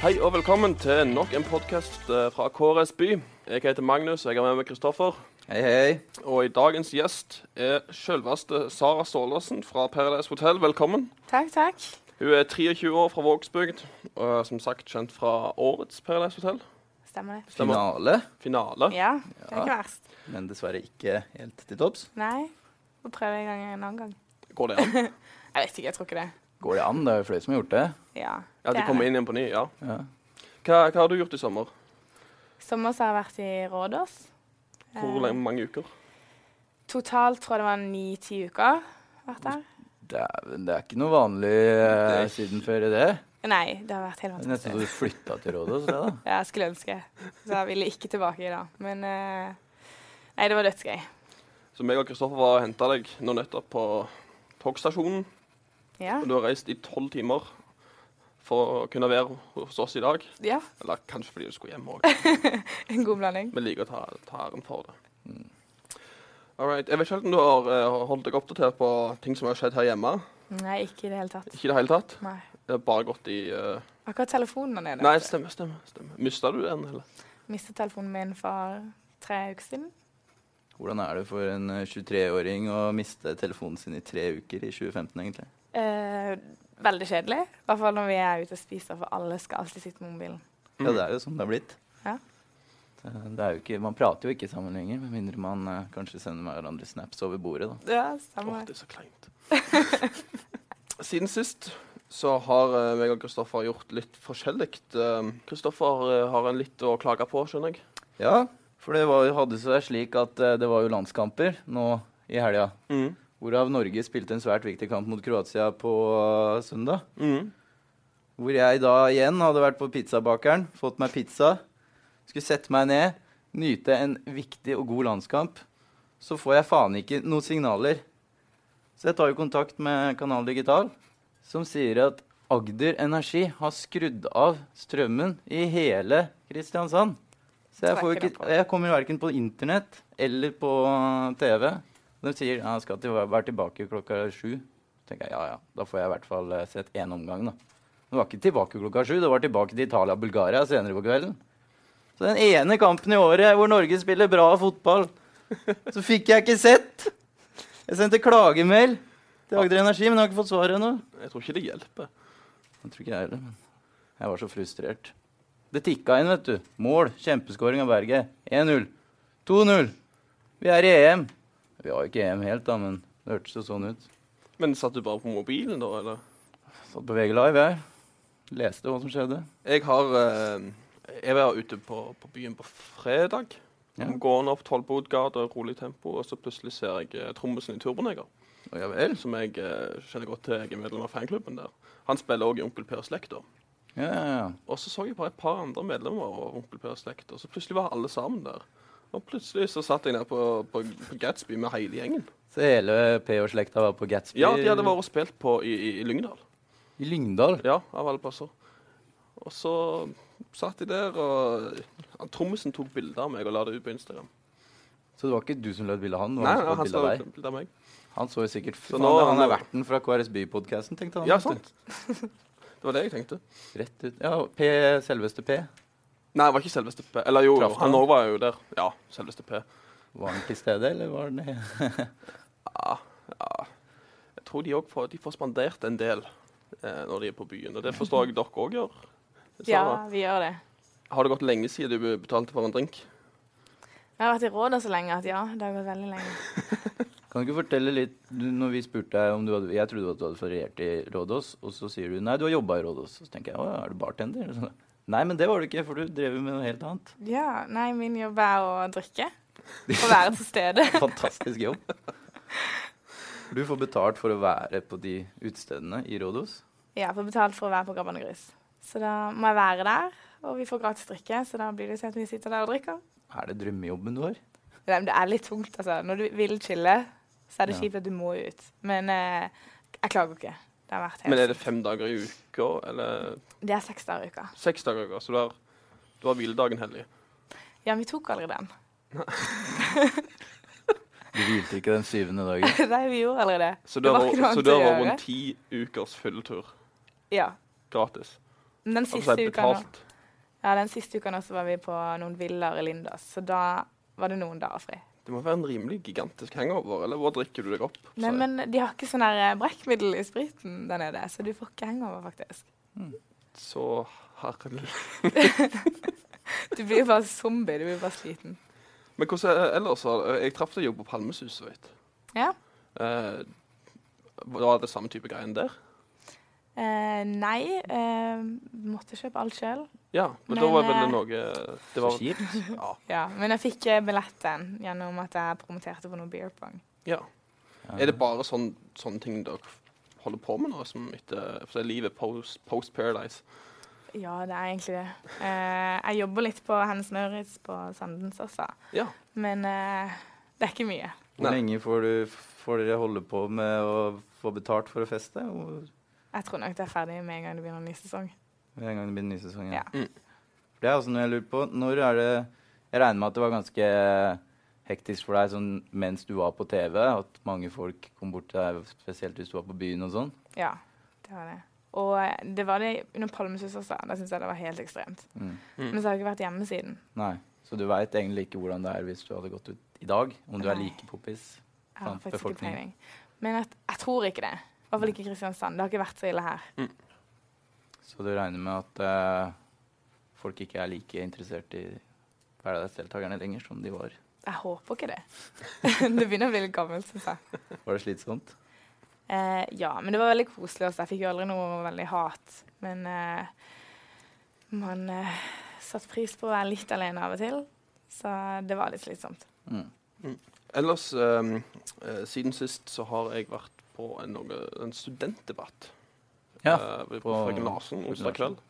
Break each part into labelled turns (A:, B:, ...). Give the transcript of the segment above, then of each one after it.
A: Hei og velkommen til nok en podkast fra KRS By. Jeg heter Magnus, og jeg er med med Kristoffer.
B: Hei, hei.
A: Og i dagens gjest er selveste Sara Stålersen fra Paradise Hotel. Velkommen.
C: Takk, takk.
A: Hun er 23 år fra Vågsbygd, og er som sagt kjent fra årets Paradise Hotel.
C: Stemmer det.
A: Stemmer.
B: Finale,
A: Finale.
C: Ja, det er ikke verst.
B: men dessverre ikke helt til topps.
C: Nei. Får prøve en gang en annen gang.
A: Går det an?
C: Jeg vet ikke, jeg tror ikke det.
B: Går det an? Det er jo flere som har gjort det.
C: Ja.
A: Ja,
C: det
A: de
C: er
A: kommer
C: det.
A: inn igjen på ny, ja.
B: Ja.
A: Hva, hva har du gjort i sommer?
C: Sommer så har jeg vært i Rådås.
A: Hvor
C: Eh,
A: lenge, mange uker?
C: Totalt tror jeg det var ni-ti uker vært der.
B: Det, er, det er ikke noe vanlig eh,
A: Det er-
B: siden før i det.
C: Nei, det har vært helt
B: Det er nesten
C: fantastisk.
B: så du flytta til Rådås. det da.
C: Ja, jeg skulle ønske. Så jeg ville ikke tilbake i dag. Men eh, nei, det var dødsgøy.
A: Så meg og Kristoffer var og henta deg nå nettopp på togstasjonen.
C: Ja.
A: Og du har reist i tolv timer for å kunne være hos oss i dag.
C: ja.
A: Eller kanskje fordi du skulle hjem òg.
C: En god blanding.
A: Vi liker å ta, ta æren for det. All right. Jeg vet ikke helt om du har eh, holdt deg oppdatert på ting som har skjedd her hjemme.
C: Nei, ikke i det hele tatt.
A: Ikke i det hele tatt.
C: Nei.
A: Det har bare gått i eh,
C: Akkurat telefonen er nede.
A: Nei, stemmer, stemmer. stemmer. Mista du den, eller?
C: Mistet telefonen min for tre uker siden.
B: Hvordan er det for en eh, 23-åring å miste telefonen sin i tre uker i 2015, egentlig?
C: Eh, veldig kjedelig. I hvert fall når vi er ute og spiser, for alle skal alltid sitte med mobilen.
B: Ja, det er jo sånn det har blitt.
C: Ja.
B: Det det er jo ikke, man prater jo ikke sammen lenger, med mindre man eh, kanskje sender hverandre snaps over bordet. da.
C: Ja,
A: Åh,
C: samme.
A: det er så kleint. Siden sist så har eh, meg og Kristoffer gjort litt forskjellig. Kristoffer eh, har en litt å klage på, skjønner jeg.
B: Ja, for det var, jo- hadde seg slik at eh, det var jo landskamper nå i helga. Hvorav Norge spilte en svært viktig kamp mot Kroatia på øh, søndag.
A: Mhm.
B: Hvor jeg da igjen hadde vært på pizzabakeren, fått meg pizza, skulle sette meg ned, nyte en viktig og god landskamp. Så får jeg faen ikke noen signaler. Så jeg tar jo kontakt med Kanal Digital, som sier at Agder Energi har skrudd av strømmen i hele Kristiansand. Så jeg, får jo
C: Tverker
B: ikke, jeg kommer jo verken på internett eller på øh, TV. De sier ja, skal til, være tilbake klokka sju. Så tenker jeg ja, ja, da får jeg i hvert fall eh, sett én omgang, da. Det var ikke tilbake klokka sju, det var tilbake til Italia og Bulgaria senere på kvelden. Så den ene kampen i året hvor Norge spiller bra fotball, så fikk jeg ikke sett. Jeg sendte klagemelding til Agder Energi, men jeg har ikke fått svar ennå.
A: Jeg tror ikke det hjelper.
B: Jeg tror ikke jeg heller, men jeg var så frustrert. Det tikka inn, vet du. Mål. Kjempeskåring av Berge. 1-0. 2-0. Vi er i EM. Vi har jo ikke EM helt, da, men det hørtes jo sånn ut.
A: Men satt du bare på mobilen, da, eller?
B: Satt på VG Live, jeg. Leste hva som skjedde.
A: Jeg har eh, Jeg var ute på, på byen på fredag.
B: Ja.
A: Gående opp Tollbodgata i rolig tempo, og så plutselig ser jeg eh, trommisen i Turboneger.
B: Å, ja vel.
A: Som jeg eh, kjenner godt til. Jeg er medlem av fanklubben der. Han spiller òg i Onkel Pers slekt, da.
B: Ja, ja, ja.
A: Og så så jeg bare et par andre medlemmer av Onkel Pers slekt, og så plutselig var alle sammen der. Og plutselig så satt jeg nede på, på, på Gatsby med hele gjengen.
B: Så hele PH-slekta var på Gatsby
A: Ja, de hadde vært og spilt på i, i, i Lyngdal.
B: i Lyngdal?
A: Ja, av alle plasser. Og så satt de der, og han Trommisen tok bilder av meg og la det ut på Instagram.
B: Så det var ikke du som lød bilde av han? det
A: Nei,
B: var han,
A: nei,
B: som
A: han
B: lød bilde
A: la
B: av
A: ut
B: deg.
A: bilde av meg.
B: han så jo sikkert
A: Så
B: Faen,
A: nå-
B: han er
A: nå-
B: verten fra KRSB-podkasten, tenkte han.
A: Ja, sånn.
B: vet du.
A: sant. Det var det jeg tenkte.
B: Rett ut. Ja, P, selveste P.
A: Nei, det var ikke selveste P. Eller jo,
B: Traff
A: han
B: han?
A: òg var jo der. Ja, selveste P.
B: Var han til stede, eller var han
A: Jeg tror de òg får, de får spandert en del eh, når de er på byen, og det forstår jeg dere òg gjør.
C: Ja,
A: Sara.
C: vi gjør det.
A: Har det gått lenge siden du betalte for en drink?
C: Jeg har vært i Rådås så lenge at ja, det har gått veldig lenge.
B: Kan du ikke fortelle litt du, Når vi spurte deg om du hadde Jeg trodde at du hadde feriert i Rådås, og så sier du nei, du har jobba i Rådås. Så tenker jeg å ja, er du bartender? Så, nei, men det var du ikke, for du drev jo med noe helt annet.
C: Ja, nei, min jobb er å drikke. Å være til stede.
B: Fantastisk jobb. Du får betalt for å være på de utestedene i Rådås.
C: Ja, får betalt for å være på Grabban og Grus. Så da må jeg være der, og vi får gratis drikke, så da blir det sånn at vi sitter der og drikker.
B: Er det drømmejobben du har?
C: Nei, men det er litt tungt, altså. Når du vil chille, så er det
B: Ja.
C: kjipt at du må ut. Men eh, jeg klager ikke. Det har vært helt
A: Men er det fem dager i uka, eller
C: Det er seks dager i uka.
A: seks dager i uka? Så du har, du har hviledagen hellig.
C: Ja, vi tok aldri den.
B: Du hvilte ikke den syvende dagen.
C: Nei, vi gjorde aldri det.
A: Så du
C: Det
A: har
C: var ikke noe
A: vært- så
C: annet
A: du
C: å
A: har vært
C: gjøre.
A: rundt ti ukers fylletur
C: Ja.
A: gratis.
C: Men den
A: Altså,
C: siste
A: jeg
C: uka nå,
A: betalt.
C: ja, den siste uka nå så var vi på noen villaer i Lindås, så da var det noen dager fri.
A: Det må være en rimelig gigantisk hangover, eller hvor drikker du deg opp?
C: Nei,
A: sier jeg.
C: men de har ikke sånn her eh, brekkmiddel i spriten der nede, så du får ikke hangover, faktisk.
A: Så herlig.
C: Du blir jo bare zombie, du blir bare sliten.
A: Men hvordan er det ellers? da? Jeg traff deg jo på Palmesus, vet
C: Ja.
A: Eh, Var det samme type greien der?
C: Eh, nei, eh, måtte kjøpe alt sjøl.
A: Ja, men, da
C: Men,
A: var vel det
C: eh,
A: noe det
B: Så
A: var,
B: kjipt.
A: ja,
C: Ja, men jeg fikk eh, billetten gjennom at jeg promoterte på noe beer pong.
A: ja. Er det bare sånn, sånne ting dere holder på med nå, som etter, for det er livet post, post Paradise?
C: Ja, det er egentlig det. Eh, jeg jobber litt på Hennes Møritz på Sandens også,
A: Ja.
C: men eh, det er ikke mye.
B: Hvor
A: Nei.
B: lenge får, du, får dere holde på med å få betalt for å feste? Hvor-
C: Jeg tror nok det er ferdig med en gang det begynner en ny sesong.
B: Med en gang det blir en ny sesong.
C: Ja.
A: Mm.
B: For Det er også noe jeg lurer på. Når er det Jeg regner med at det var ganske hektisk for deg sånn mens du var på TV, at mange folk kom bort til deg, spesielt hvis du var på byen og sånn.
C: Ja, det var det. Og eh, det var det under Palmesus også. Da syns jeg det var helt ekstremt.
B: Mm.
C: Men så har jeg ikke vært hjemme siden.
B: Nei. Så du veit egentlig ikke hvordan det er hvis du hadde gått ut i dag, om du er
C: Nei.
B: like poppis.
C: Jeg har
B: Faen,
C: faktisk ikke
B: befolkningen.
C: peiling. Men at, jeg tror ikke det. I hvert fall ikke i Kristiansand. Det har ikke vært så ille her.
B: Så du regner med at eh, folk ikke er like interessert i hverdagsdeltakerne lenger som de var.
C: Jeg håper ikke det. det begynner å bli litt gammelt, syns jeg.
B: Var det slitsomt?
C: Eh, ja, men det var veldig koselig også. Jeg fikk jo aldri noe veldig hat. Men eh, man eh, satte pris på å være litt alene av og til, så det var litt slitsomt.
B: Mm.
A: Ellers, ehm, eh, siden sist så har jeg vært på en, noe, en studentdebatt
B: Ja.
A: eh, ved- på
B: på-
A: Frøken Larsen onsdag
B: Larsen.
A: kveld.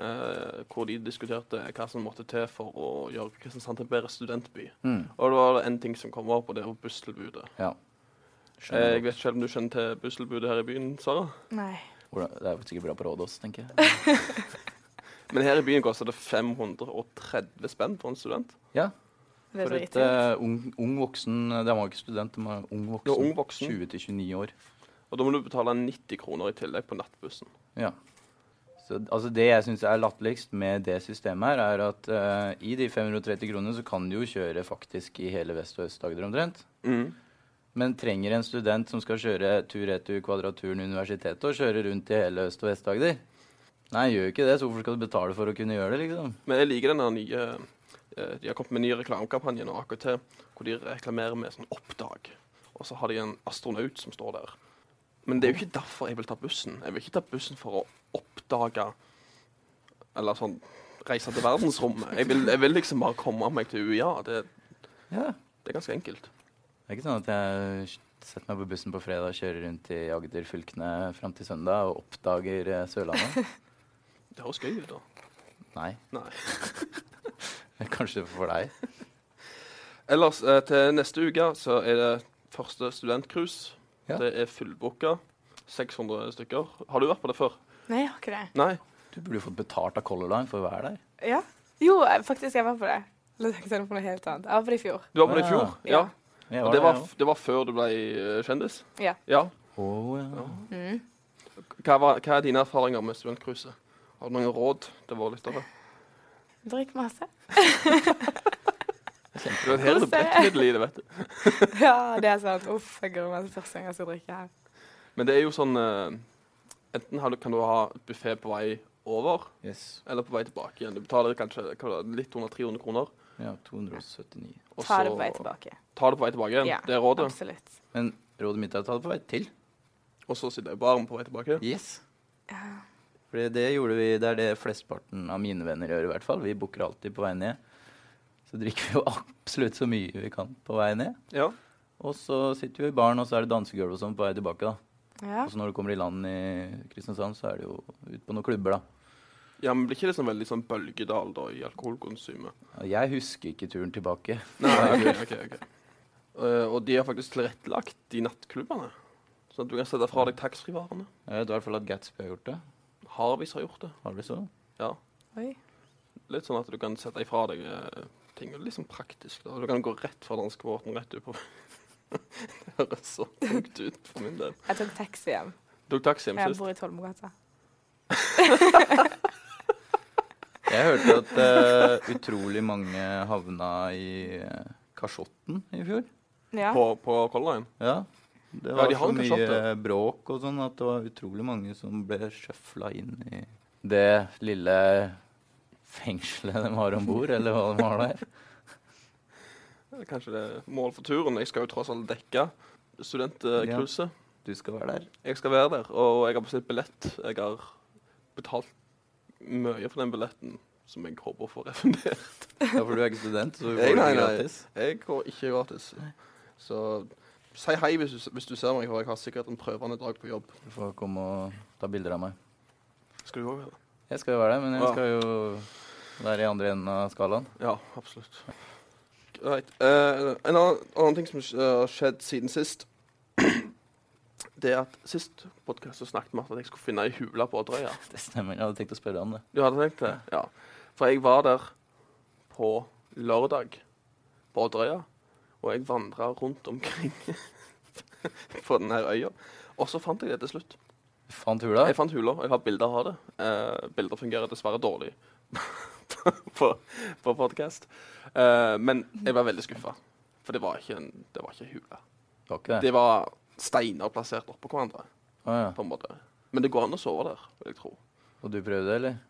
A: eh, hvor de diskuterte hva som måtte til for å gjøre Kristiansand til en bedre studentby.
B: Mm.
A: Og det var en ting som kom opp, og det var busstilbudet.
B: Ja.
A: Eh,
B: Skjønner
A: Jeg vet ikke om du kjenner til busstilbudet her i byen, Sara?
C: Nei.
B: Hvordan, det er jo sikkert bra på Rådås, tenker jeg.
A: Men her i byen koster det 530 spenn for en student.
B: Ja, for
C: Det er
B: et
C: dritdyrt.
B: eh, ung, ung voksen eh, De var ikke student, de var ung voksen.
A: Ja, ung voksen.
B: 20 til 29 år.
A: Og da må du betale 90 kroner i tillegg på nattbussen.
B: Ja. Så altså, det jeg syns er latterligst med det systemet her, er at eh, i de 530 kronene så kan du jo kjøre faktisk i hele Vest- og Øst-Agder omtrent. Men trenger en student som skal kjøre tur-retur Kvadraturen universitetet og kjøre rundt i hele Øst- og Vest-Agder? Nei, gjør jo ikke det, så hvorfor skal du betale for å kunne gjøre det, liksom?
A: Men jeg liker den der nye eh, De har kommet med en ny reklamekampanje nå, AKT, hvor de reklamerer med sånn oppdag. Og så har de en astronaut som står der. Men det er jo ikke derfor jeg vil ta bussen. Jeg vil ikke ta bussen for å oppdage Eller sånn reise til verdensrommet. Jeg vil, jeg vil liksom bare komme meg til UiA. Det,
B: Ja.
A: det er ganske enkelt.
B: Det er ikke sånn at jeg setter meg på bussen på fredag, kjører rundt i Agder-fylkene fram til søndag og oppdager eh, Sørlandet.
A: Det høres gøy ut, da.
B: Nei.
A: Nei.
B: Kanskje for deg.
A: Ellers, eh, til neste uke så er det første studentcruise.
B: Ja.
A: Det er fullbooka. 600 stykker. Har du vært på det før?
C: Nei, jeg har ikke det.
A: Nei?
B: Du burde jo fått betalt av Color Line for å være der.
C: Ja. Jo, eh, faktisk, jeg var på det. Eller tenkte jeg på noe helt annet. Jeg var på det i fjor.
A: Du var på det i
B: Ah.
A: fjor?
C: Ja.
A: Ja.
B: Jeg
A: Og det var,
B: der, jeg
A: det var før du ble eh, kjendis?
C: Ja.
A: ja.
B: også. Å, ja.
C: Mm.
A: Hva, var, hva er dine erfaringer med studentcruiset? Har du noen råd til våre lyttere?
C: Drikk masse.
A: Det er hele
C: Kos deg.
A: brekkmiddel i det, vet du.
C: Ja, det er sant. Uff, jeg gruer meg til første gang jeg skal drikke her.
A: Men det er jo sånn eh, Enten har du, kan du ha buffé på vei over
B: Yes.
A: eller på vei tilbake igjen. Du betaler kanskje hva var det, litt under 300 kroner.
B: Ja, 279.
A: Og
C: Ta det
A: så-
C: på vei tilbake.
A: Ta det på vei tilbake igjen.
C: Ja,
A: Det er rådet.
C: Absolutt.
B: Men rådet mitt er å ta det på vei til.
A: Og så sitter jeg i baren på vei tilbake.
B: Yes. Fordi det gjorde vi, det er det flesteparten av mine venner gjør i hvert fall. Vi booker alltid på vei ned. Så drikker vi jo absolutt så mye vi kan på vei ned.
A: Ja.
B: Og så sitter vi i baren, og så er det dansegulv og sånn på vei tilbake. da.
C: Ja.
B: Og så når du kommer i land i Kristiansand, så er det jo ut på noen klubber, da.
A: ja, men blir ikke det sånn veldig sånn bølgedal da i alkoholkonsumet?
B: Ja, Jeg husker ikke turen tilbake.
A: Nei, ok, ok, ok. Eh, og de har faktisk tilrettelagt de nattklubbene, sånn at du kan sette fra deg taxfree-varene.
B: Jeg vet i hvert fall at Gatsby har gjort det.
A: Harvis har gjort det.
B: Har du så?
A: Ja.
C: Oi.
A: Litt sånn at du kan sette ifra deg eh, ting. og Liksom praktisk. da. Du kan gå rett fra danskebåten rett ut på Det høres så tungt ut for min del.
C: Jeg tok taxi hjem.
A: Tok taxi hjem
C: Jeg
A: sist.
C: bor i Tolmogata.
B: Jeg hørte at eh, utrolig mange havna i eh, kasjotten i fjor.
C: Ja.
A: På, på Color Line.
B: Ja. Det
A: Ja,
B: var
A: de har
B: så
A: en
B: mye
A: kasjott, ja.
B: bråk og sånn at det var utrolig mange som ble sjøfla inn i det lille fengselet de har om bord, eller hva de har der.
A: Kanskje det er mål for turen. Jeg skal jo tross alt dekke studentcruiset.
B: Du skal være der.
A: Jeg skal være der, og jeg har bestilt billett. Jeg har betalt mye for den billetten, som jeg håper å få refundert.
B: Ja, for du er ikke student, så du
A: Nei,
B: får det
A: nei, nei.
B: gratis.
A: Jeg går ikke gratis. Så si hei hvis du, hvis du ser meg, for jeg har sikkert en prøvende dag på jobb.
B: Du får komme og ta bilder av meg.
A: Skal du òg være det?
B: Jeg skal jo være der, men jeg
A: Ja.
B: skal jo være i andre enden av skalaen.
A: Ja, absolutt. Greit. Eh, en annen, annen ting som eh, har skjedd siden sist, det er at sist podkast snakket vi om at jeg skulle finne ei hule på Odderøya.
B: Det stemmer. Jeg hadde tenkt å spørre om det.
A: Du hadde tenkt det? Ja. For jeg var der på lørdag på Odderøya, og jeg vandra rundt omkring på denne øya. Og så fant jeg det til slutt.
B: Du Fant hula?
A: Jeg fant hula, og jeg har bilder av det. Eh, bilder fungerer dessverre dårlig på, på podkast. Eh, men jeg var veldig skuffa, for det var ikke en det var ikke en hule.
B: Det var ikke det.
A: Det var steiner plassert oppå hverandre,
B: Å, ja.
A: på en måte. Men det går an å sove der, vil jeg tro.
B: Og du prøvde, eller?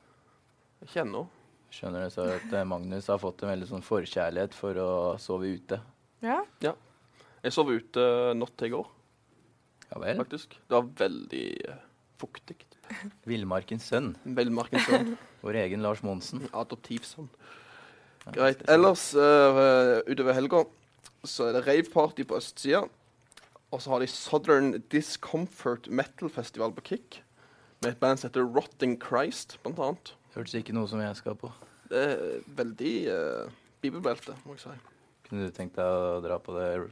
A: Ikke ennå.
B: Skjønner du så at eh, Magnus har fått en veldig sånn forkjærlighet for å sove ute.
C: ja.
A: Jeg sov ute natt til i går,
B: Ja vel.
A: faktisk. Det var veldig eh, fuktig.
B: Villmarkens sønn.
A: Velmarkens sønn.
B: Vår egen Lars Monsen.
A: Adoptivsønn.
B: Ja,
A: sånn. Greit.
B: spesielt.
A: Ellers, eh, utover helga, så er det raveparty på østsida. Og så har de Southern Discomfort Metal Festival på Kick. Med et band som heter Rotting Christ, blant annet.
B: Hørtes ikke noe som jeg skal på.
A: Det er veldig eh, bibelbelte, må jeg si.
B: Kunne du tenkt deg å dra på det r-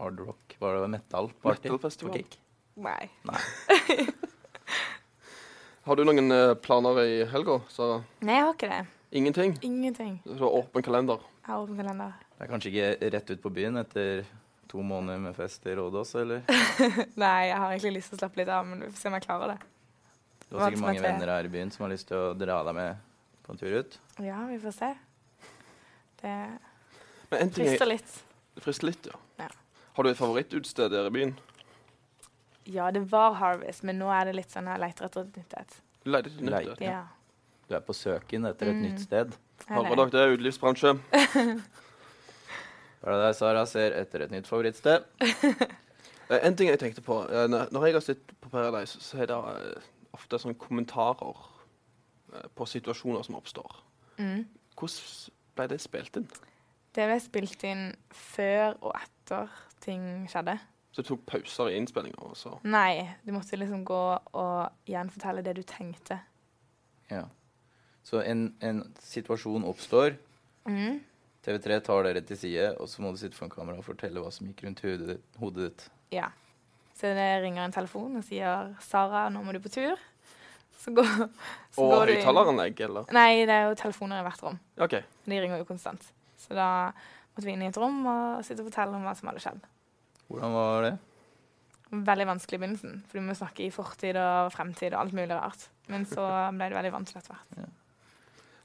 B: hard rock Var det metal party?
A: Metalfestival.
B: På Kick?
C: Nei.
A: Har du noen eh, planer i helga, Sara?
C: Nei, jeg har ikke det.
A: Ingenting?
C: Ingenting.
A: Så åpen kalender.
C: Jeg har åpen kalender.
B: Det er kanskje ikke rett ut på byen etter to måneder med fest i Rådås, eller?
C: Nei, jeg har egentlig lyst til å slappe litt av, men vi får se om jeg klarer det.
B: Du har sikkert
C: Hva
B: mange
C: som er tre?
B: venner her i byen som har lyst til å dra deg med på en tur ut.
C: Ja, vi får se. Det
A: Men en ting er
C: frister litt.
A: Frist litt, ja.
C: Ja.
A: Har du et favorittutsted der i byen?
C: Ja, det var Harvest, men nå er det litt sånn jeg leter etter et nytt et.
A: Du leter etter nytt. eh,
B: Leter.
A: vet du.
C: Ja.
B: Du er på søken etter et
C: Mm.
B: nytt sted.
C: jeg
A: Hører dere
C: er
A: det, utelivsbransje?
B: Hva er det der Sara ser etter et nytt favorittsted?
A: Eh, En ting jeg tenkte på. eh, når- Når jeg har sett på Paradise, så er det eh, ofte sånne kommentarer eh, på situasjoner som oppstår.
C: det. Mm.
A: Hvordan ble det spilt inn?
C: Det ble spilt inn før og etter ting skjedde.
A: Så du tok pauser i innspillinga, og så
C: Nei, du måtte liksom gå og gjenfortelle det du tenkte.
B: Ja. Så en, en situasjon oppstår.
C: Mm.
B: TV3 tar dere til side, og så må du sitte foran kamera og fortelle hva som gikk rundt hodet, ditt- hodet ditt.
C: Ja. Så det ringer en telefon og sier 'Sara, nå må du på tur'. Så går, så
A: Og
C: går du inn.
A: høyttaleranlegg, eller?
C: Nei, det er jo telefoner i hvert rom.
A: OK.
C: Men De ringer jo konstant. Så da måtte vi inn i et rom og sitte og fortelle om hva som hadde skjedd.
B: Hvordan var det?
C: Veldig vanskelig i begynnelsen, for du må snakke i fortid og fremtid og alt mulig rart. Men så ble det veldig vanskelig etter hvert.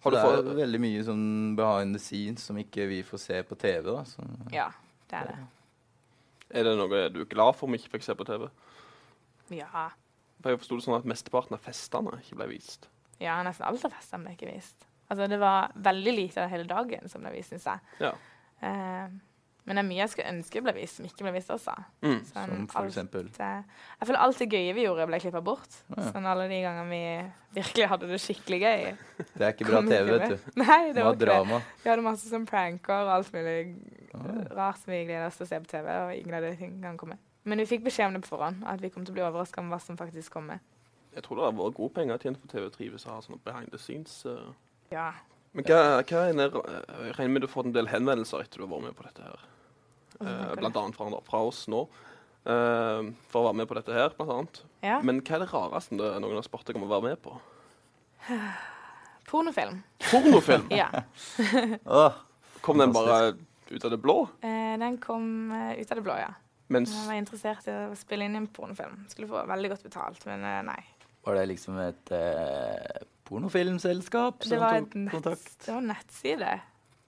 A: Har du
B: det er
A: fått
B: veldig mye sånn behind the scenes som ikke vi får se på TV. da. Så,
C: Ja, det er det.
A: Er det noe du er glad for om ikke fikk se på TV?
C: Ja.
A: For Jeg forsto det sånn at mesteparten av festene ikke ble vist.
C: Ja, nesten alt av festene ble ikke vist. Altså, det var veldig lite av hele dagen som ble vist, syns jeg.
A: Ja.
C: Eh, men det er mye jeg skulle ønske ble vist, som ikke ble vist også.
A: Mm.
C: Sånn,
B: som for eksempel.
C: alt, eh, jeg føler alt det gøye vi gjorde, ble klippa bort.
B: Å, ja.
C: Sånn alle de gangene vi virkelig hadde det skikkelig gøy.
B: Det er ikke bra
C: kom
B: TV,
C: ikke
B: vet
C: med.
B: du.
C: Nei,
B: Det
C: det var
B: var
C: ikke det.
B: drama.
C: Vi hadde masse sånn pranker og alt mulig
B: Ah.
C: rart som vi gleder oss til å se på TV. og ingen av de tingene kan komme. Men vi fikk beskjed om det på forhånd, at vi kom til å bli overraska om hva som faktisk kommer.
A: Jeg tror det har vært gode penger tjent på TV3 hvis jeg har sånne behind the scenes. eh.
C: Ja.
A: Men hva, hva er nær- eh, jeg regner med du har fått en del henvendelser etter du har vært med på dette her.
C: og så
A: Eh,
C: tenker
A: blant
C: du.
A: annet fra, fra oss nå. eh, for å være med på dette her, blant annet.
C: Ja.
A: Men hva er det rareste det- noen har spurt deg om å være med på?
C: Pornofilm.
A: Pornofilm!
C: Ja.
B: Åh,
A: Kom den bare ut av det blå?
C: Eh, den kom eh, ut av det blå, ja.
A: Mens
C: Jeg var interessert i å spille inn en pornofilm. Skulle få veldig godt betalt, men eh, nei.
B: var det liksom et eh, pornofilmselskap
C: Det
B: som
C: var,
B: tok
C: et nett,
B: kontakt.
C: det var en nettside.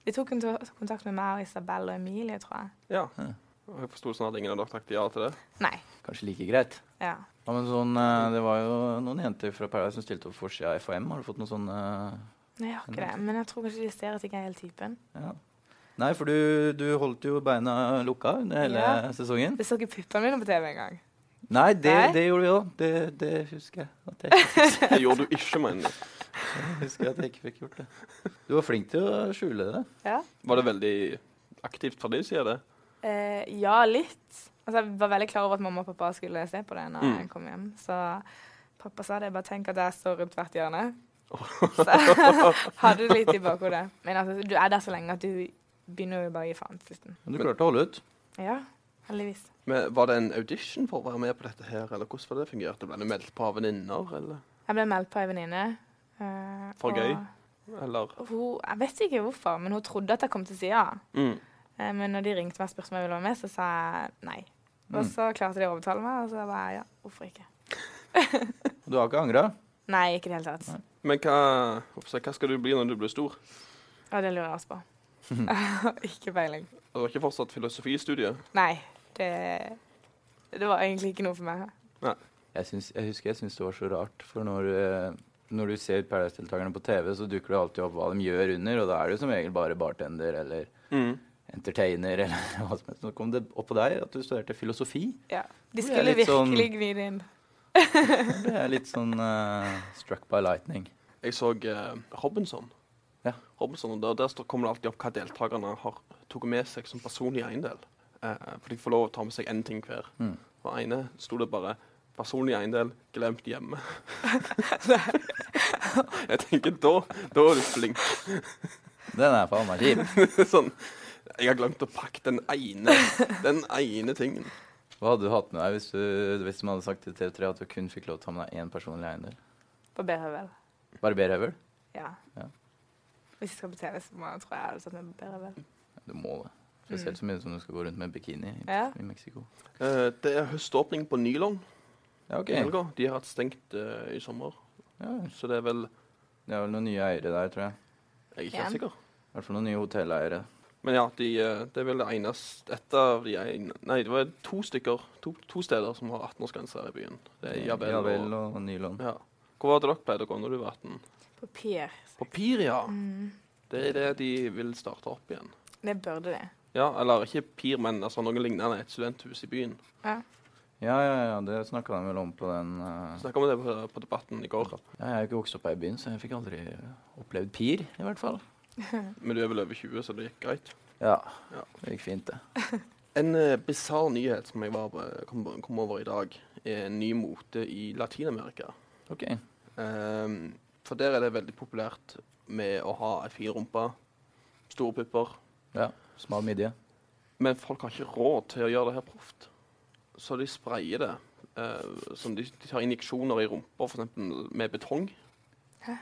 C: De tok konto- kontakt med meg og Isabel og Emilie, tror jeg.
A: Ja.
B: Ja.
A: Og jeg forsto det sånn at ingen av dere takket ja til det.
C: Nei.
B: Kanskje like greit.
C: Ja.
B: Ja, men sånn, eh, det var jo noen jenter fra Paradise som stilte opp for sida av FHM. Har du fått noen sånne
C: Nei, jeg har ikke det. Men jeg tror kanskje de ser at jeg ikke er helt typen.
B: eh, ja. Nei, for du, du holdt jo beina lukka under hele
C: Ja.
B: sesongen.
C: Det så ikke puppene mine på TV engang.
B: Nei, det,
C: Nei?
B: det gjorde vi òg. Det, det husker jeg. At jeg,
A: Det gjorde du ikke, mener jeg.
B: husker jeg at jeg ikke fikk gjort det. Du var flink til å skjule det.
C: Ja.
A: Var det veldig aktivt fra din side, det?
C: Eh, ja, litt. Altså, jeg var veldig klar over at mamma og pappa skulle se på det når
A: Mm.
C: jeg kom hjem. Så pappa sa det. Bare tenk at jeg står rundt hvert hjørne.
A: Åh.
C: Så hadde det litt i bakhodet. Men altså, du er der så lenge at du begynner jo bare å gi faen til slutten.
B: Men du
A: Men-
B: klarte å holde ut.
C: Ja, heldigvis.
A: Men var det en audition for å være med på dette her, eller hvordan var det fungerte? Ble du meldt på av venninner, eller?
C: Jeg ble meldt på ei venninne. eh,
A: For
C: og
A: gøy? eller?
C: Hun, jeg vet ikke hvorfor, men hun trodde at jeg kom til å si ja.
A: Mm.
C: Eh, men når de ringte meg og spurte om jeg ville være med, så sa jeg nei. Og
B: Mm.
C: så klarte de å overtale meg, og så var jeg ja, hvorfor ikke?
B: Du har ikke angra?
C: Nei, ikke i det hele tatt.
B: Nei.
A: Men hva, hoppsa, hva skal du bli når du blir stor?
C: Og det lurer jeg også på. ikke peiling.
A: Du har ikke fortsatt filosofistudiet?
C: Nei, det, det var egentlig ikke noe for meg.
B: Jeg, syns- jeg husker jeg syns det var så rart, for når, eh, når du ser Paradise-deltakerne på TV, så dukker det alltid opp hva de gjør under, og da er det jo som regel bare bartender eller
A: Mm.
B: entertainer eller hva som helst. Nå kom det opp på deg at du studerte filosofi.
C: Ja. De
B: Nå er jeg
C: skulle
B: litt sånn-
C: virkelig gni det inn.
B: Da ble jeg litt sånn eh, struck by lightning.
A: Jeg så eh, Robinson.
B: Ja.
A: Robinson, og Der, der står- kommer det alltid opp hva deltakerne har tok med seg som personlig eiendel. Eh, for de får lov å ta med seg én ting hver.
B: Mm.
A: Og ene sto det bare 'personlig eiendel glemt hjemme'. jeg tenker da, da er du flink.
B: Den er faen meg kjip.
A: sånn Jeg har glemt å pakke den ene, den ene tingen.
B: Hva hadde du hatt med deg hvis, du, hvis de hadde sagt til TV3 at du kun fikk lov til å ta med deg én personlig eiendel?
C: På Berøvel.
B: Barberhøvel?
C: Ja.
B: Ja.
C: Hvis jeg skal på TV, så må jeg, tror jeg jeg hadde satt meg på Berøvel.
B: Du må det. Spesielt så mye som du skal gå rundt med bikini i,
C: Mm. Ja.
B: i Mexico.
A: Eh, det er høståpning på Nylon
B: Ja, OK.
A: i helga. De har hatt stengt eh, i sommer,
B: Ja,
A: så det er vel
B: det er vel noen nye eiere der, tror jeg.
A: Jeg er ikke helt
C: Ja.
A: sikker.
B: I hvert fall noen nye hotelleiere.
A: Men ja, de, eh, det er vel det eneste Ett av de ene Nei, det var to stykker, to, to steder som har 18-årsgrense her i byen. Det er Javel,
B: Javel
A: og,
B: og Nylon.
A: ja. Hvor var det dere pleide å gå når du var 18?
C: Mm, På Pier.
A: Papir, ja.
C: Mm.
A: Det er det de vil starte opp igjen.
C: Det burde det.
A: Ja, eller ikke Pir, men altså noe lignende. Et studenthus i byen.
B: Ja, ja, ja, det snakka de vel om på den eh,
A: Snakka om det på, på Debatten i går.
B: Ja, jeg er jo ikke vokst opp her i byen, så jeg fikk aldri eh, opplevd pir, i hvert fall.
A: Men du er vel over 20, så det gikk greit.
B: Ja.
A: Ja.
B: Det gikk fint, det.
A: En uh, bisarr nyhet som jeg var, kom, kom over i dag, er en ny mote i Latin-Amerika.
B: OK.
A: Ehm, for der er det veldig populært med å ha ei fin rumpe, store pupper.
B: Ja. Smal midje.
A: Men folk har ikke råd til å gjøre det her proft. Så de sprayer det. eh, som de, de tar injeksjoner i rumpa, f.eks. med betong.
C: Hæ?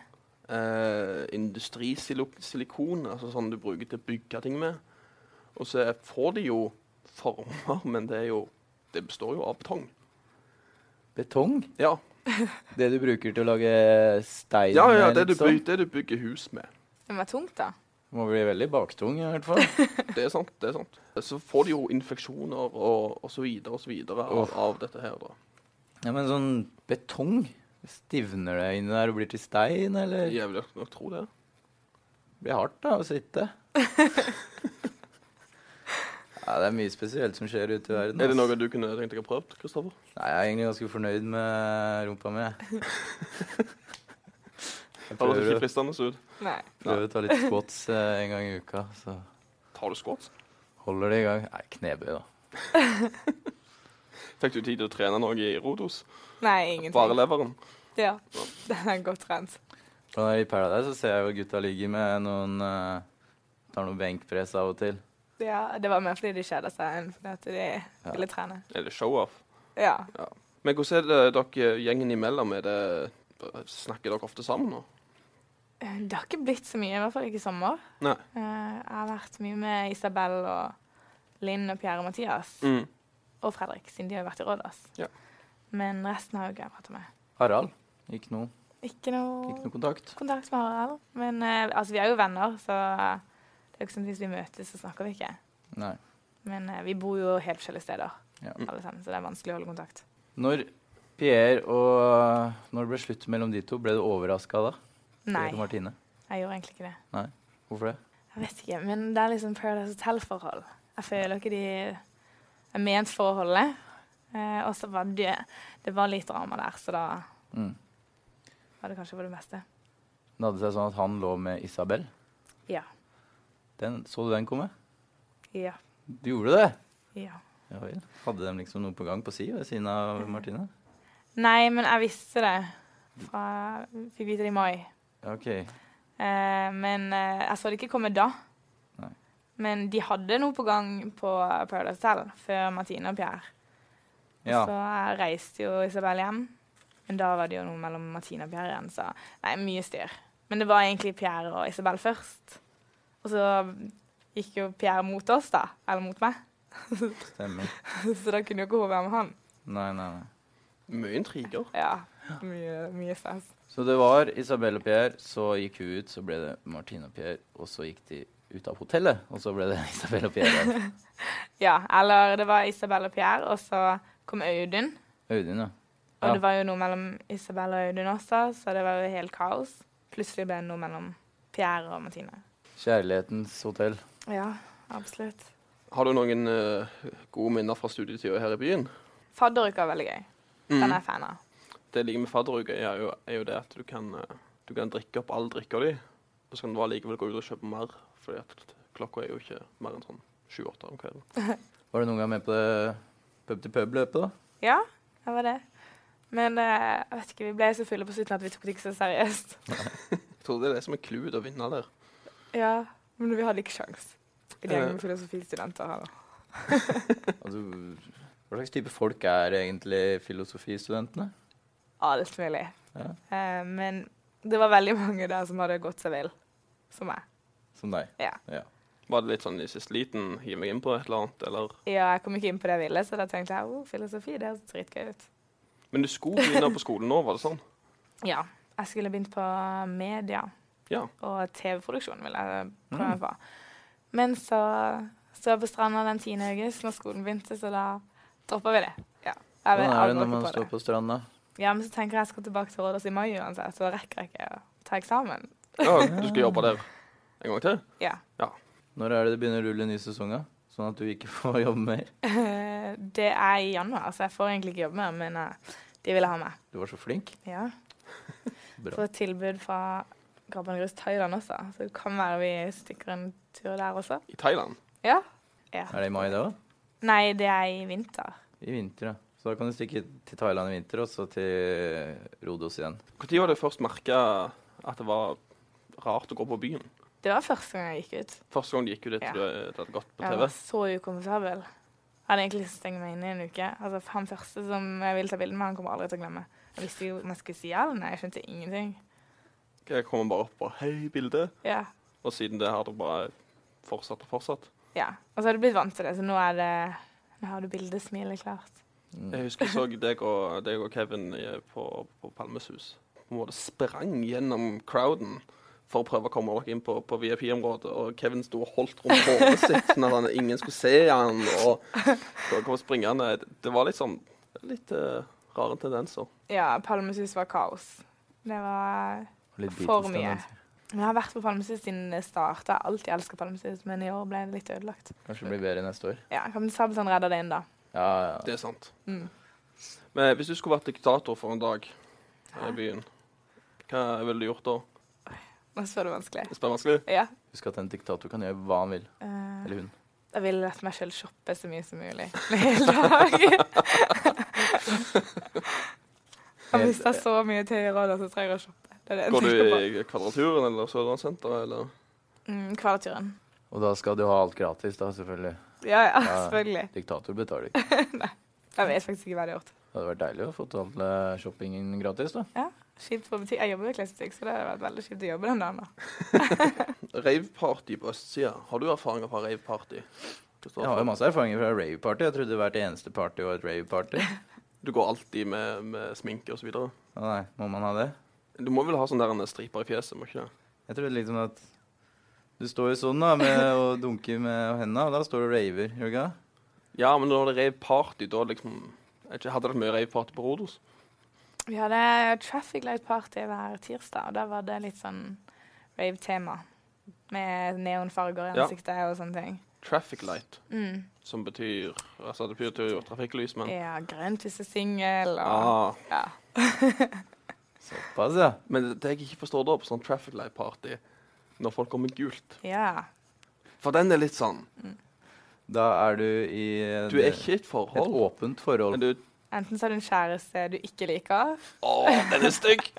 A: Eh, industrisilikon, altså sånn du bruker til å bygge ting med. Og så er- får de jo former, men det er jo Det består jo av betong.
B: Betong?
A: Ja,
B: Det du bruker til å lage stein
A: ja, ja
B: med,
A: det, du
B: liksom.
A: byg, det du bygger hus med.
C: Det var tungt, da.
B: Må bli veldig baktung, i hvert fall.
A: Det er sant. det er sant. Så får de jo infeksjoner og, og så videre og så videre av,
B: Uff.
A: av dette her. da.
B: Ja, Men sånn betong? Stivner det inni der og blir til stein,
C: Eh.
B: eller?
A: Jeg vil nok tro det.
B: Det blir hardt da, å sitte. ja, det er mye spesielt som skjer ute i verden.
A: Er det
B: ass.
A: noe du kunne tenkt deg å prøve, Kristoffer?
B: Nei, jeg er egentlig ganske fornøyd med rumpa mi. jeg.
A: Høres
B: Jeg prøver,
A: ikke
B: å-
A: fristende ut.
C: Nei.
B: prøver å ta litt squats eh, en gang i uka, så
A: Tar du squats?
B: holder det i gang. Nei, knebøy, da.
A: Fikk du tid til å trene noe i Rodos?
C: Nei,
A: Bare
C: ingenting.
A: leveren?
C: Ja. Den er godt trent.
B: Når jeg er i Paradise, så ser jeg jo gutta ligger med noen eh, Tar noen benkpress av og til.
C: Ja, det var mer fordi de kjeda seg enn fordi at de ville trene.
A: Er det show-off?
C: Ja.
A: Men hvordan er det dere gjengen imellom? Er det, snakker dere ofte sammen nå?
C: Eh, Det har ikke blitt så mye, i hvert fall ikke i sommer.
A: Nei.
C: Eh, Jeg har vært mye med Isabel og Linn og Pierre og Mathias.
A: Mm.
C: Og Fredrik, siden de har vært i Rådås.
A: Ja.
C: Men resten har jo ikke jeg pratet med.
B: Harald. Ikke noe.
C: Ikke noe,
B: Ikke noe kontakt.
C: kontakt med Harald. Men eh, altså, vi er jo venner, så det er jo ikke sånn at hvis vi møtes, så snakker vi ikke.
B: Nei.
C: Men eh, vi bor jo helt forskjellige steder,
B: Ja.
C: alle sammen, så det er vanskelig å holde kontakt.
B: Når Pierre og Når det ble slutt mellom de to, ble du overraska da?
C: Nei,
B: Pierre og Martine?
C: jeg gjorde egentlig ikke det.
B: Hvorfor det?
C: Jeg vet ikke, men det er liksom Paradise Hotel-forhold. Jeg føler ikke de er ment for å holde. Eh, og så var det, det var litt drama der, så da
B: Mm.
C: var det kanskje for det meste.
B: Det hadde seg sånn at han lå med Isabel.
C: Ja.
B: Den, så du den komme?
C: Ja.
B: Du gjorde det?
C: ja.
B: Ja vel. Hadde de liksom noe på gang på si ved siden av Martine?
C: Nei, men jeg visste det. Fra, fikk vite det i mai.
B: Ja, OK.
C: Eh, men eh, jeg så det ikke komme da.
B: Nei.
C: Men de hadde noe på gang på Paradise Hotel før Martine og Pierre. Og
B: Ja.
C: Så jeg reiste jo Isabel hjem. Men da var det jo noe mellom Martine og Pierre igjen, så nei, mye styr. Men det var egentlig Pierre og Isabel først. Og så gikk jo Pierre mot oss, da. Eller mot meg.
B: Stemmer.
C: Så da kunne jo ikke hun være med han.
B: Nei, nei, nei.
A: Mye intriger.
C: Ja, mye, mye stress.
B: Så det var Isabel og Pierre, så gikk hun ut, så ble det Martine og Pierre, og så gikk de ut av hotellet, og så ble det Isabel og Pierre. igjen.
C: Ja, eller det var Isabel og Pierre, og så kom Audun.
B: Audun, ja.
C: Og
B: Ja.
C: det var jo noe mellom Isabel og Audun også, så det var jo helt kaos. Plutselig ble det noe mellom Pierre og Martine.
B: Kjærlighetens hotell.
C: Ja, absolutt.
A: Har du noen eh, gode minner fra studietida her i byen?
C: Fadderuka er veldig gøy. Den er jeg fan av.
A: Det jeg liker med fadderuke, er, jo- er jo det at du kan, eh, du kan drikke opp all drikka di, og så kan du allikevel gå ut og kjøpe mer, fordi at klokka er jo ikke mer enn sånn sju-åtte om kvelden.
B: Var du noen gang med på det pub-til-pub-løpet, da?
C: Ja, det var det. Men eh, jeg vet ikke, vi ble så fulle på slutten at vi tok det ikke så seriøst.
A: Jeg tror det er det som er clouet å vinne der.
C: Ja, men vi hadde ikke sjans. I
A: Eh.
C: dag med filosofistudenter her. da.
B: Altså, hva slags type folk er egentlig filosofistudentene?
C: Alt mulig.
B: Ja.
C: Eh, men det var veldig mange der som hadde gått seg vill, som meg.
B: Som deg?
C: Ja.
A: Var det litt sånn i siste liten, hiv meg inn på et eller annet, eller
C: Ja, jeg kom ikke inn på det jeg ville, så da tenkte jeg, oh, filosofi, det høres dritgøy ut.
A: Men du skulle begynne på skolen nå, var det sånn?
C: Ja. Jeg skulle begynt på media
A: Ja.
C: og TV-produksjon, ville jeg
B: Mm.
C: prøve meg på. Men så sto jeg på stranda den 10. august når skolen begynte, så da droppa vi det. Ja. Jeg vil
B: Hvordan er det når
C: angrer
B: man
C: ikke
B: står
C: på det.
B: på stranda?
C: Ja, men så tenker jeg jeg skal tilbake til Rådås i mai uansett, så da rekker jeg ikke å ta eksamen.
A: ja du skal jobbe der en gang til?
C: Ja.
B: Når er det det begynner å rulle ny sesong, da? Sånn at du ikke får jobbe mer?
C: Det er i januar, så jeg får egentlig ikke jobbe mer, men eh, de ville ha meg.
B: Du var så flink.
C: Ja.
B: Bra.
C: Får et tilbud fra Garbangrus Thailand også, så det kan være vi stikker en tur der også.
A: I Thailand?
C: Ja. ja.
B: Er det i mai, det òg?
C: Nei, det er i vinter.
B: I vinter, ja. Så da kan du stikke til Thailand i vinter, og så til Rodos igjen.
A: Når var det du først merka at det var rart å gå på byen?
C: Det var første gang jeg gikk ut.
A: Første gang du gikk jo dit
C: Ja.
A: du det hadde gått på
C: Jeg
A: TV?
C: var så ukomfortabel. Jeg hadde egentlig lyst til å stenge meg inne i en uke. Altså, Han første som jeg ville ta bilde med, han kommer aldri til å glemme. Jeg visste jo om jeg skulle si ja eller nei. Jeg skjønte ingenting.
A: Jeg kommer bare opp på 'hei, bilde',
C: Ja.
A: og siden det har det bare fortsatt og fortsatt.
C: ja. Og så har du blitt vant til det, så nå er det Nå har du bildesmilet klart.
B: Mm.
C: Eh,
A: Jeg husker jeg så deg og, deg og Kevin i- på, på Palmes hus. På en måte sprang gjennom crowden for å prøve å komme dere inn på, på VIP-området, og Kevin sto og holdt rundt hodet sitt sånn at han, ingen skulle se han, og dere kom springende. Det var litt sånn litt eh, rare tendenser.
C: Ja, Palmesus var kaos. Det var
B: Litt
C: For
B: Beatles-tendenser.
C: mye. Men Jeg har vært på Palmesus siden det starta. Jeg har alltid elska Palmesus, men i år ble det litt ødelagt.
B: Kanskje det blir bedre neste år.
C: Ja, Kaptein Sabeltann redder det inn, da.
B: Ja, ja.
A: Det er sant.
C: Mm.
A: Men hvis du skulle vært diktator for en dag her i byen, hva ville du gjort da?
C: Nå spør du vanskelig.
A: Det er vanskelig.
C: Ja.
B: Husk at en diktator kan gjøre hva han vil.
C: eh,
B: Eller hun.
C: Jeg ville latt meg selv shoppe så mye som mulig en hel dag. Jeg mista så mye tøy i Rådås, så trenger jeg å shoppe. Det er det jeg
A: Går
C: tenker på.
A: du i Kvadraturen eller Sørlandssenteret, eller?
C: Mm, Kvadraturen.
B: Og da skal du ha alt gratis, da, selvfølgelig.
C: Ja, ja,
B: Ja.
C: selvfølgelig.
B: Diktator betaler ikke.
C: Jeg vet faktisk ikke hva jeg hadde gjort.
B: Det hadde vært deilig å få all eh, shoppingen gratis, da.
C: Kjipt på butikk. Jeg jobber i klesbutikk, så det hadde vært veldig kjipt å jobbe den dagen. da.
A: Raveparty på østsida. Har du erfaringer fra raveparty?
B: Jeg har jo masse erfaringer fra rave-party. Jeg trodde hvert eneste party var et rave-party.
A: Du går alltid med, med sminke og så videre.
B: Å nei, må man ha det?
A: Du må vel ha sånn der en striper i fjeset, må ikke det?
B: Jeg trodde liksom at du står jo sånn da, med, og dunker med hendene, og da står du og raver. Gjør du ikke det?
A: Ja, men når det rev party, da liksom jeg vet ikke, Hadde dere mye rave-party på Rodos?
C: Vi hadde traffic light party hver tirsdag, og da var det litt sånn rave-tema. Med neonfarger i
A: Ja.
C: ansiktet og sånne ting.
A: Traffic light,
C: Mm.
A: som betyr Altså, det betyr jo trafikklys, men
C: Ja, grønt hvis du er singel, og
A: ah.
C: ja.
B: Såpass, ja.
A: Men det jeg ikke forstår da, på sånn traffic light-party, når folk kommer med gult
C: ja.
A: For den er litt sånn
B: Da er du i en-
A: Du er ikke i et
B: et
A: forhold,
B: åpent forhold.
A: men du
C: Enten så har du en kjæreste du ikke liker,
A: Å, den er stygg!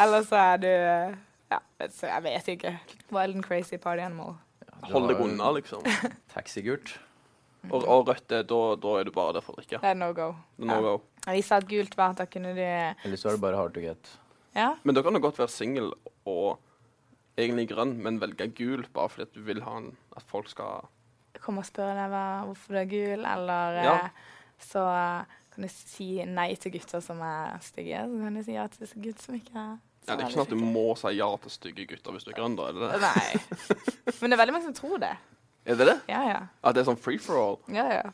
C: eller så er du eh, Ja, vet, så jeg vet ikke. Wild and crazy party animal.
A: Hold deg unna, liksom.
B: Taxigult.
A: Og, og rødt er da, da er du bare der for å drikke.
C: Det er no go.
A: Det er no go.
C: Og de sa at gult var at da kunne du
B: Eller så er det bare hard to get.
C: Ja.
A: Men da kan du godt være singel og egentlig grønn, men velge gul bare fordi at du vil ha en, at folk skal
C: Kom og spør deg hva, hvorfor du er gul, eller
A: Ja.
C: eh, så eh, kan du si nei til gutter som er stygge. Så kan du si ja til gutter som ikke er
A: ja, Det er ikke sånn at du må si ja til stygge gutter hvis du er grønn, da? Er det det?
C: Nei. Men det er veldig mange som tror det.
A: Er det det?
C: Ja, ja.
A: At det er sånn free for all?
C: ja, ja.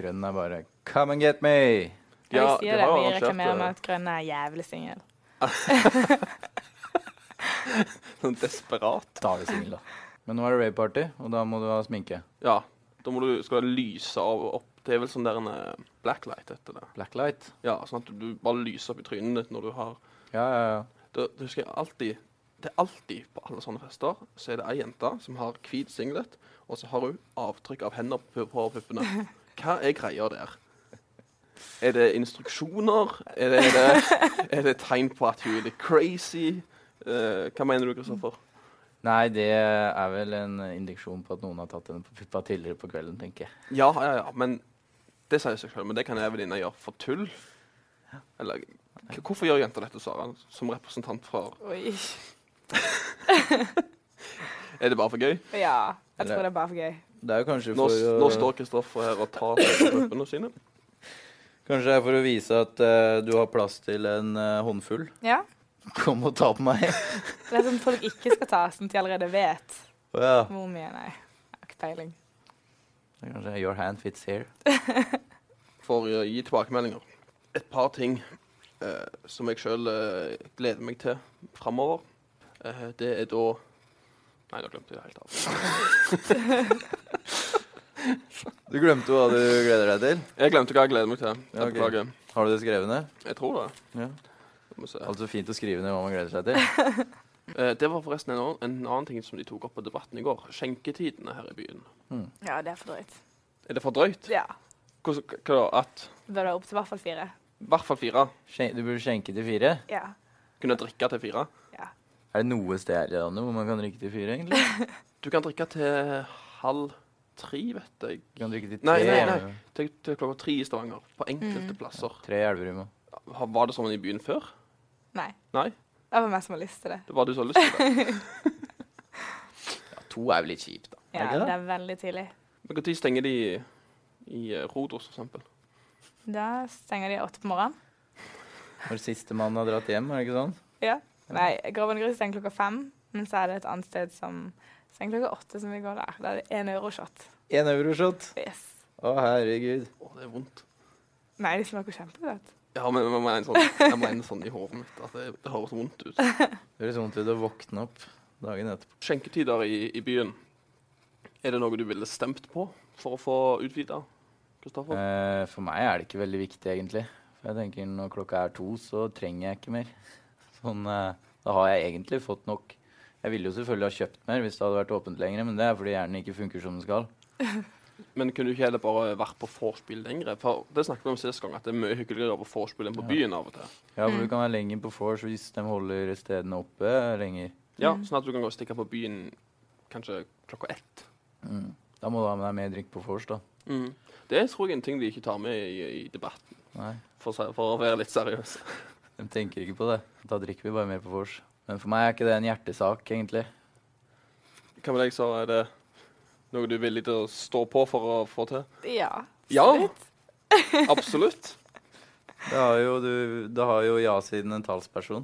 B: Grønn er bare 'come and get me'.
A: De
C: Ja,
A: har-
C: vi
A: de
C: sier det.
A: har jo
C: Vi
A: arrangert,
C: reklamerer
A: eh,
C: med at grønne er jævlig singel.
A: Sånn desperat.
B: Da er du singel, da. Men nå er det rave-party, og da må du ha sminke.
A: Ja. Da må du, skal du lyse av opp. Det er vel sånn der en eh, blacklight heter det.
B: Blacklight.
A: Ja, sånn at du bare lyser opp i trynet ditt når du har
B: Ja, ja, ja.
A: Da da husker jeg alltid Det er alltid på alle sånne fester så er det ei jente som har hvit singlet, og så har hun avtrykk av hender på, på puppene. Hva er greia der? Er det instruksjoner? Er det, er det, er det tegn på at hun er litt crazy? Eh, hva mener du, Kristoffer?
B: Nei, det er vel en indiksjon på at noen har tatt henne på puppa tidligere på kvelden, tenker jeg.
A: Ja, ja, ja, men det sier seg selv. Men det kan jeg venninne gjøre for tull. Eller k- hvorfor gjør jenter dette, Sara, som representant for
C: Oi.
A: Er det bare for gøy?
C: Ja. Jeg
B: Eller-
C: tror det er bare for gøy.
B: Det er jo kanskje
A: Nå,
B: for
A: s-
B: å,
A: nå står Kristoffer her og tar seg på puppene sine.
B: Kanskje det er for å vise at eh, du har plass til en eh, håndfull.
C: Ja.
B: Kom og ta på meg.
C: Det er sånn folk ikke skal ta, sånn at de allerede vet
B: Å ja.
C: hvor mye. Nei, jeg har ikke peiling.
B: Det er Kanskje your hand fits here.
A: for å gi tilbakemeldinger. Et par ting eh, som jeg sjøl eh, gleder meg til framover. Eh, det er da Nei, da glemte jeg det helt av.
B: Du glemte hva du gleder deg til.
A: Jeg glemte hva jeg gleder meg til. Jeg
B: Ja, ok.
A: Beklager.
B: Har du det skrevet ned?
A: Jeg tror det.
B: Ja.
A: Vi må se.
B: Altså fint å skrive ned hva man gleder seg til.
A: Eh, det var forresten en annen, en annen ting som de tok opp på debatten i går. Skjenketidene her i byen.
B: Hmm.
C: Ja, det er for drøyt.
A: Er det for drøyt?
C: Ja.
A: Hvordan- Hva da? At
C: Bør det være opp til i hvert fall fire.
A: i hvert fall fire
B: Skjen- Du burde skjenke til fire.
C: Ja.
A: kunne drikke til fire?
C: ja.
B: Er det noe sted her i landet hvor man kan drikke til fire, egentlig?
A: Du kan drikke til halv tre, vet jeg.
B: Du kan drikke til tre.
A: Nei, nei,
B: eller-
A: Til, til klokka tre i Stavanger. På enkelte
C: Mm.
A: plasser.
B: Tre i Elverum.
A: Ha- Var det sånn i byen før?
C: Nei.
A: Nei?
C: Det var meg som har lyst til det.
A: Det var du som hadde lyst til det.
B: Ja, to er vel litt kjipt, da.
C: Ja,
B: ikke det?
C: det er veldig tidlig.
A: Men Når stenger de i, i eh, Rodos, for eksempel?
C: Da stenger de åtte på morgenen.
B: Når sistemann har dratt hjem, er det ikke sånn?
C: Ja. Nei, Graven Grus stenger klokka fem, men så er det et annet sted som stenger klokka åtte, som vi går der. Da er det én euroshot.
B: Én euroshot.
C: Yes.
B: Å, herregud.
A: Å, det er vondt.
C: Nei, de smaker kjempegodt.
A: Ja, men jeg mener sånn, jeg mener sånn i hodet mitt at det, det høres vondt ut.
B: Det høres vondt ut å våkne opp dagen etterpå.
A: Skjenketider i, i byen. Er det noe du ville stemt på for å få utvida, Kristoffer?
B: Eh, for meg er det ikke veldig viktig, egentlig. For jeg tenker når klokka er to, så trenger jeg ikke mer. Sånn, eh, da har jeg egentlig fått nok. Jeg ville jo selvfølgelig ha kjøpt mer hvis det hadde vært åpent lenger, men det er fordi hjernen ikke funker som den skal.
A: Men kunne du ikke heller bare vært på vorspiel lenger? For det snakket vi om sist gang, at det er mye hyggeligere på vorspiel enn på
B: Ja.
A: byen av og til.
B: Ja, for
C: Mm.
B: du kan være lenger på vors hvis de holder stedene oppe lenger.
A: Ja,
C: Mm.
A: Sånn at du kan gå og stikke på byen kanskje klokka ett.
B: Mm. Da må du ha med deg mer drikk på vors, da.
A: Mm. Det er, tror jeg er en ting de ikke tar med i, i debatten,
B: Nei,
A: for, å si- for å være litt seriøs.
B: de tenker ikke på det. Da drikker vi bare mer på vors. Men for meg er ikke det en hjertesak, egentlig.
A: Hva med deg, Sara? Er det noe du er villig til å stå på for å få til?
C: Ja.
A: Ja.
C: absolutt.
A: Absolutt.
B: Da har jo, du, da har jo ja-siden en talsperson.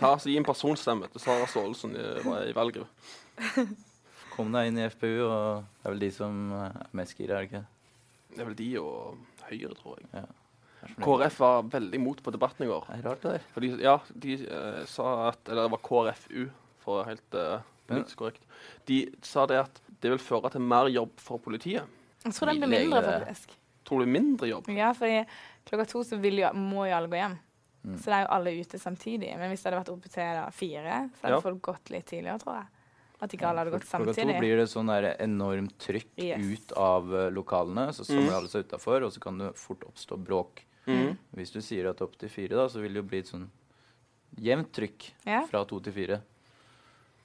A: Ta, så Gi en personstemme til Sara Staalesen i, i valget.
B: Kom deg inn i FPU, og det er vel de som eh, er mest gira, er det ikke?
A: Det er vel de og Høyre, tror jeg.
B: det?
A: KrF var veldig imot på debatten i går.
B: Det er rart, det der.
A: For de, ja, de eh, sa at Eller det var KrFU, for å være helt eh, politisk korrekt. De sa det at det vil føre til mer jobb for politiet.
C: Jeg tror den blir
B: Lille
C: mindre,
B: lege.
C: faktisk.
A: Tror du mindre jobb?
C: Ja, for klokka to så vil jo, må jo alle gå hjem.
B: Mm.
C: Så det er jo alle ute samtidig. Men hvis det hadde vært oppe til da, fire, så hadde
A: Ja.
C: folk gått litt tidligere, tror jeg. At ikke alle hadde gått
B: Klokka to
C: samtidig.
B: blir det sånn der enormt trykk
C: Yes.
B: ut av eh, lokalene, så samler
A: Mm.
B: alle seg utafor, og så kan det fort oppstå bråk. Hvis du sier at opp til fire, da, så vil det jo bli et sånn jevnt trykk
C: Ja.
B: fra to til fire.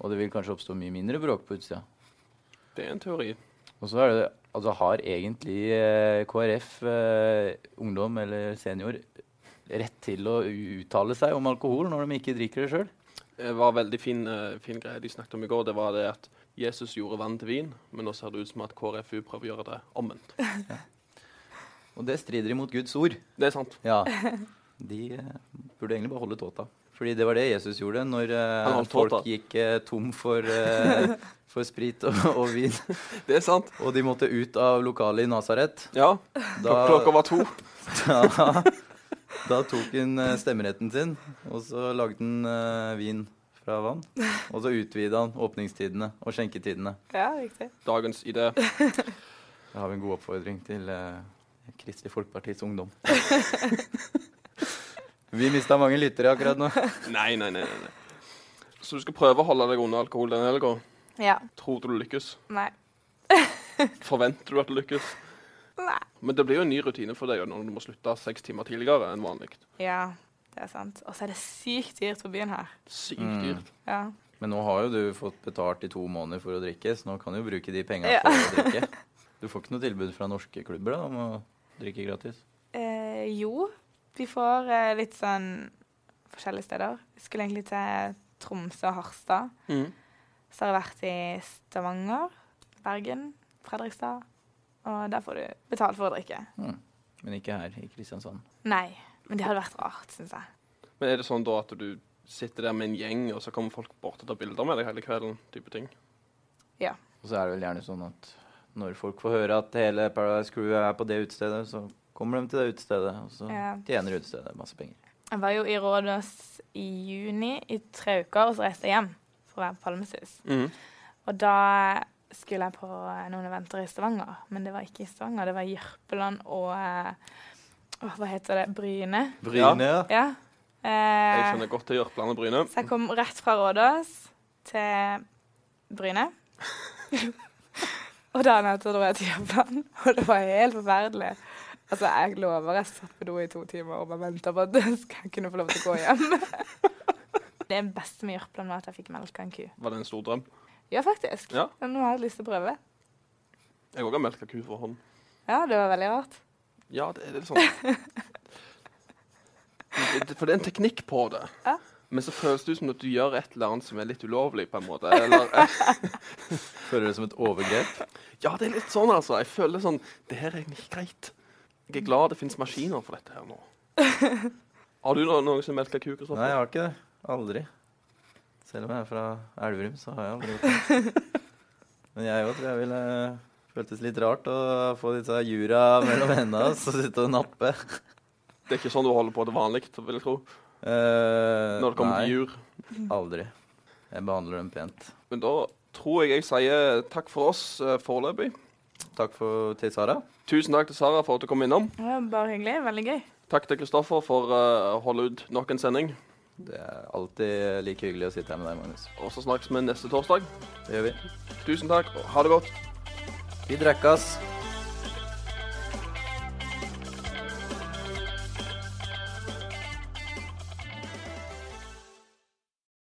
B: Og det vil kanskje oppstå mye mindre bråk på utsida.
A: Det er en teori.
B: Og så er det, altså har egentlig eh, KrF, eh, ungdom eller senior, rett til å u- uttale seg om alkohol når de ikke drikker det sjøl?
A: Det var en veldig fin, eh, fin greie de snakket om i går. Det var det at Jesus gjorde vann til vin, men nå ser det ut som at KrFU prøver å gjøre det omvendt.
B: Og det strider imot Guds ord.
A: Det er sant.
B: Ja. De eh, burde egentlig bare holde tåta. Fordi det var det Jesus gjorde når eh,
A: Han holdt
B: folk
A: tåta.
B: gikk eh, tom for, eh, for sprit og, og vin,
A: Det er sant.
B: og de måtte ut av lokalet i Nasaret.
A: Ja.
B: Da-
A: Klokka var to.
B: Da, da tok hun eh, stemmeretten sin, og så lagde hun eh, vin fra vann. Og så utvida han åpningstidene og skjenketidene.
C: Ja, riktig.
A: Dagens idé.
B: Da har vi en god oppfordring til eh, Kristelig Folkepartis ungdom. Vi mista mange lyttere akkurat nå.
A: Nei, nei, nei. nei, nei. Så du skal prøve å holde deg unna alkohol denne helga.
C: Ja.
A: Tror du du lykkes?
C: Nei.
A: Forventer du at du lykkes?
C: Nei.
A: Men det blir jo en ny rutine for deg jo når du må slutte seks timer tidligere enn vanlig.
C: Ja, det er sant. Og så er det sykt dyrt på byen her.
A: Sykt
B: Mm.
A: dyrt.
C: Ja.
B: Men nå har jo du fått betalt i to måneder for å drikke, så nå kan du jo bruke de penga
C: Ja.
B: for å drikke. Du får ikke noe tilbud fra norske klubber da, om å drikke gratis.
C: Eh, jo, vi får eh, litt sånn forskjellige steder. Vi skulle egentlig til Tromsø og Harstad.
A: Mm.
C: Så har jeg vært i Stavanger, Bergen, Fredrikstad. Og der får du betalt for å drikke.
B: Men ikke her i Kristiansand.
C: Nei, men det hadde vært rart, syns jeg.
A: Men er det sånn da at du sitter der med en gjeng, og så kommer folk bort og tar bilder med deg hele kvelden? type ting?
B: Og så er det vel gjerne sånn at når folk får høre at hele Paradise Crew er på det utestedet, så kommer de til det utestedet, og så
C: Ja.
B: tjener utestedet masse penger.
C: Jeg var jo i Rådås i juni i tre uker, og så reiste jeg hjem for å være på Palmesus.
A: Mm.
C: Og da skulle jeg på noen eventer i Stavanger, men det var ikke i Stavanger. Det var i Jørpeland og eh, åh, Hva heter det? Bryne.
A: Bryne,
B: ja.
C: Ja. Eh,
A: Jeg skjønner godt til Jørpeland og Bryne.
C: Så jeg kom rett fra Rådås til Bryne. og dagen etter dro jeg til Japan, og det var helt forferdelig. Altså, Jeg lover, jeg satt på do i to timer og bare venta på at jeg skal kunne få lov til å gå hjem. det beste med Jørpeland var at jeg fikk melka en ku.
A: Var det en stor drøm?
C: Ja, faktisk.
A: Ja.
C: Men Nå har jeg lyst til å prøve.
A: Jeg òg har melka ku for hånd.
C: Ja, det var veldig rart.
A: Ja, det er litt sånn. Det- det- For det er en teknikk på det.
C: Ja.
A: Men så føles det ut som at du gjør et eller annet som er litt ulovlig, på en måte. Eller, eh,
B: Føler det som et overgrep.
A: ja, det er litt sånn, altså. Jeg føler sånn Det her er egentlig ikke greit. Jeg er glad det finnes maskiner for dette her nå. Har du no- noen som melker kuk og sånt?
B: Nei, jeg har ikke det. Aldri. Selv om jeg er fra Elverum, så har jeg aldri gjort det. Men jeg òg tror jeg ville eh, føltes litt rart å få disse jura mellom hendene og så sitte og nappe.
A: Det er ikke sånn du holder på til vanlig, vil jeg tro.
B: Eh,
A: Når det kommer
B: nei,
A: til jur.
B: aldri. Jeg behandler dem pent.
A: Men da tror jeg jeg sier takk for oss eh, foreløpig.
B: Takk for, til Sara.
A: Tusen takk til Sara for at du kom innom.
C: Det var bare hyggelig. Veldig gøy.
A: Takk til Kristoffer for eh, å holde ut nok en sending.
B: Det er alltid like hyggelig å sitte her med deg, Magnus.
A: Og så snakkes vi neste torsdag.
B: Det gjør vi.
A: Tusen takk, og ha det godt.
B: Vi drekkas.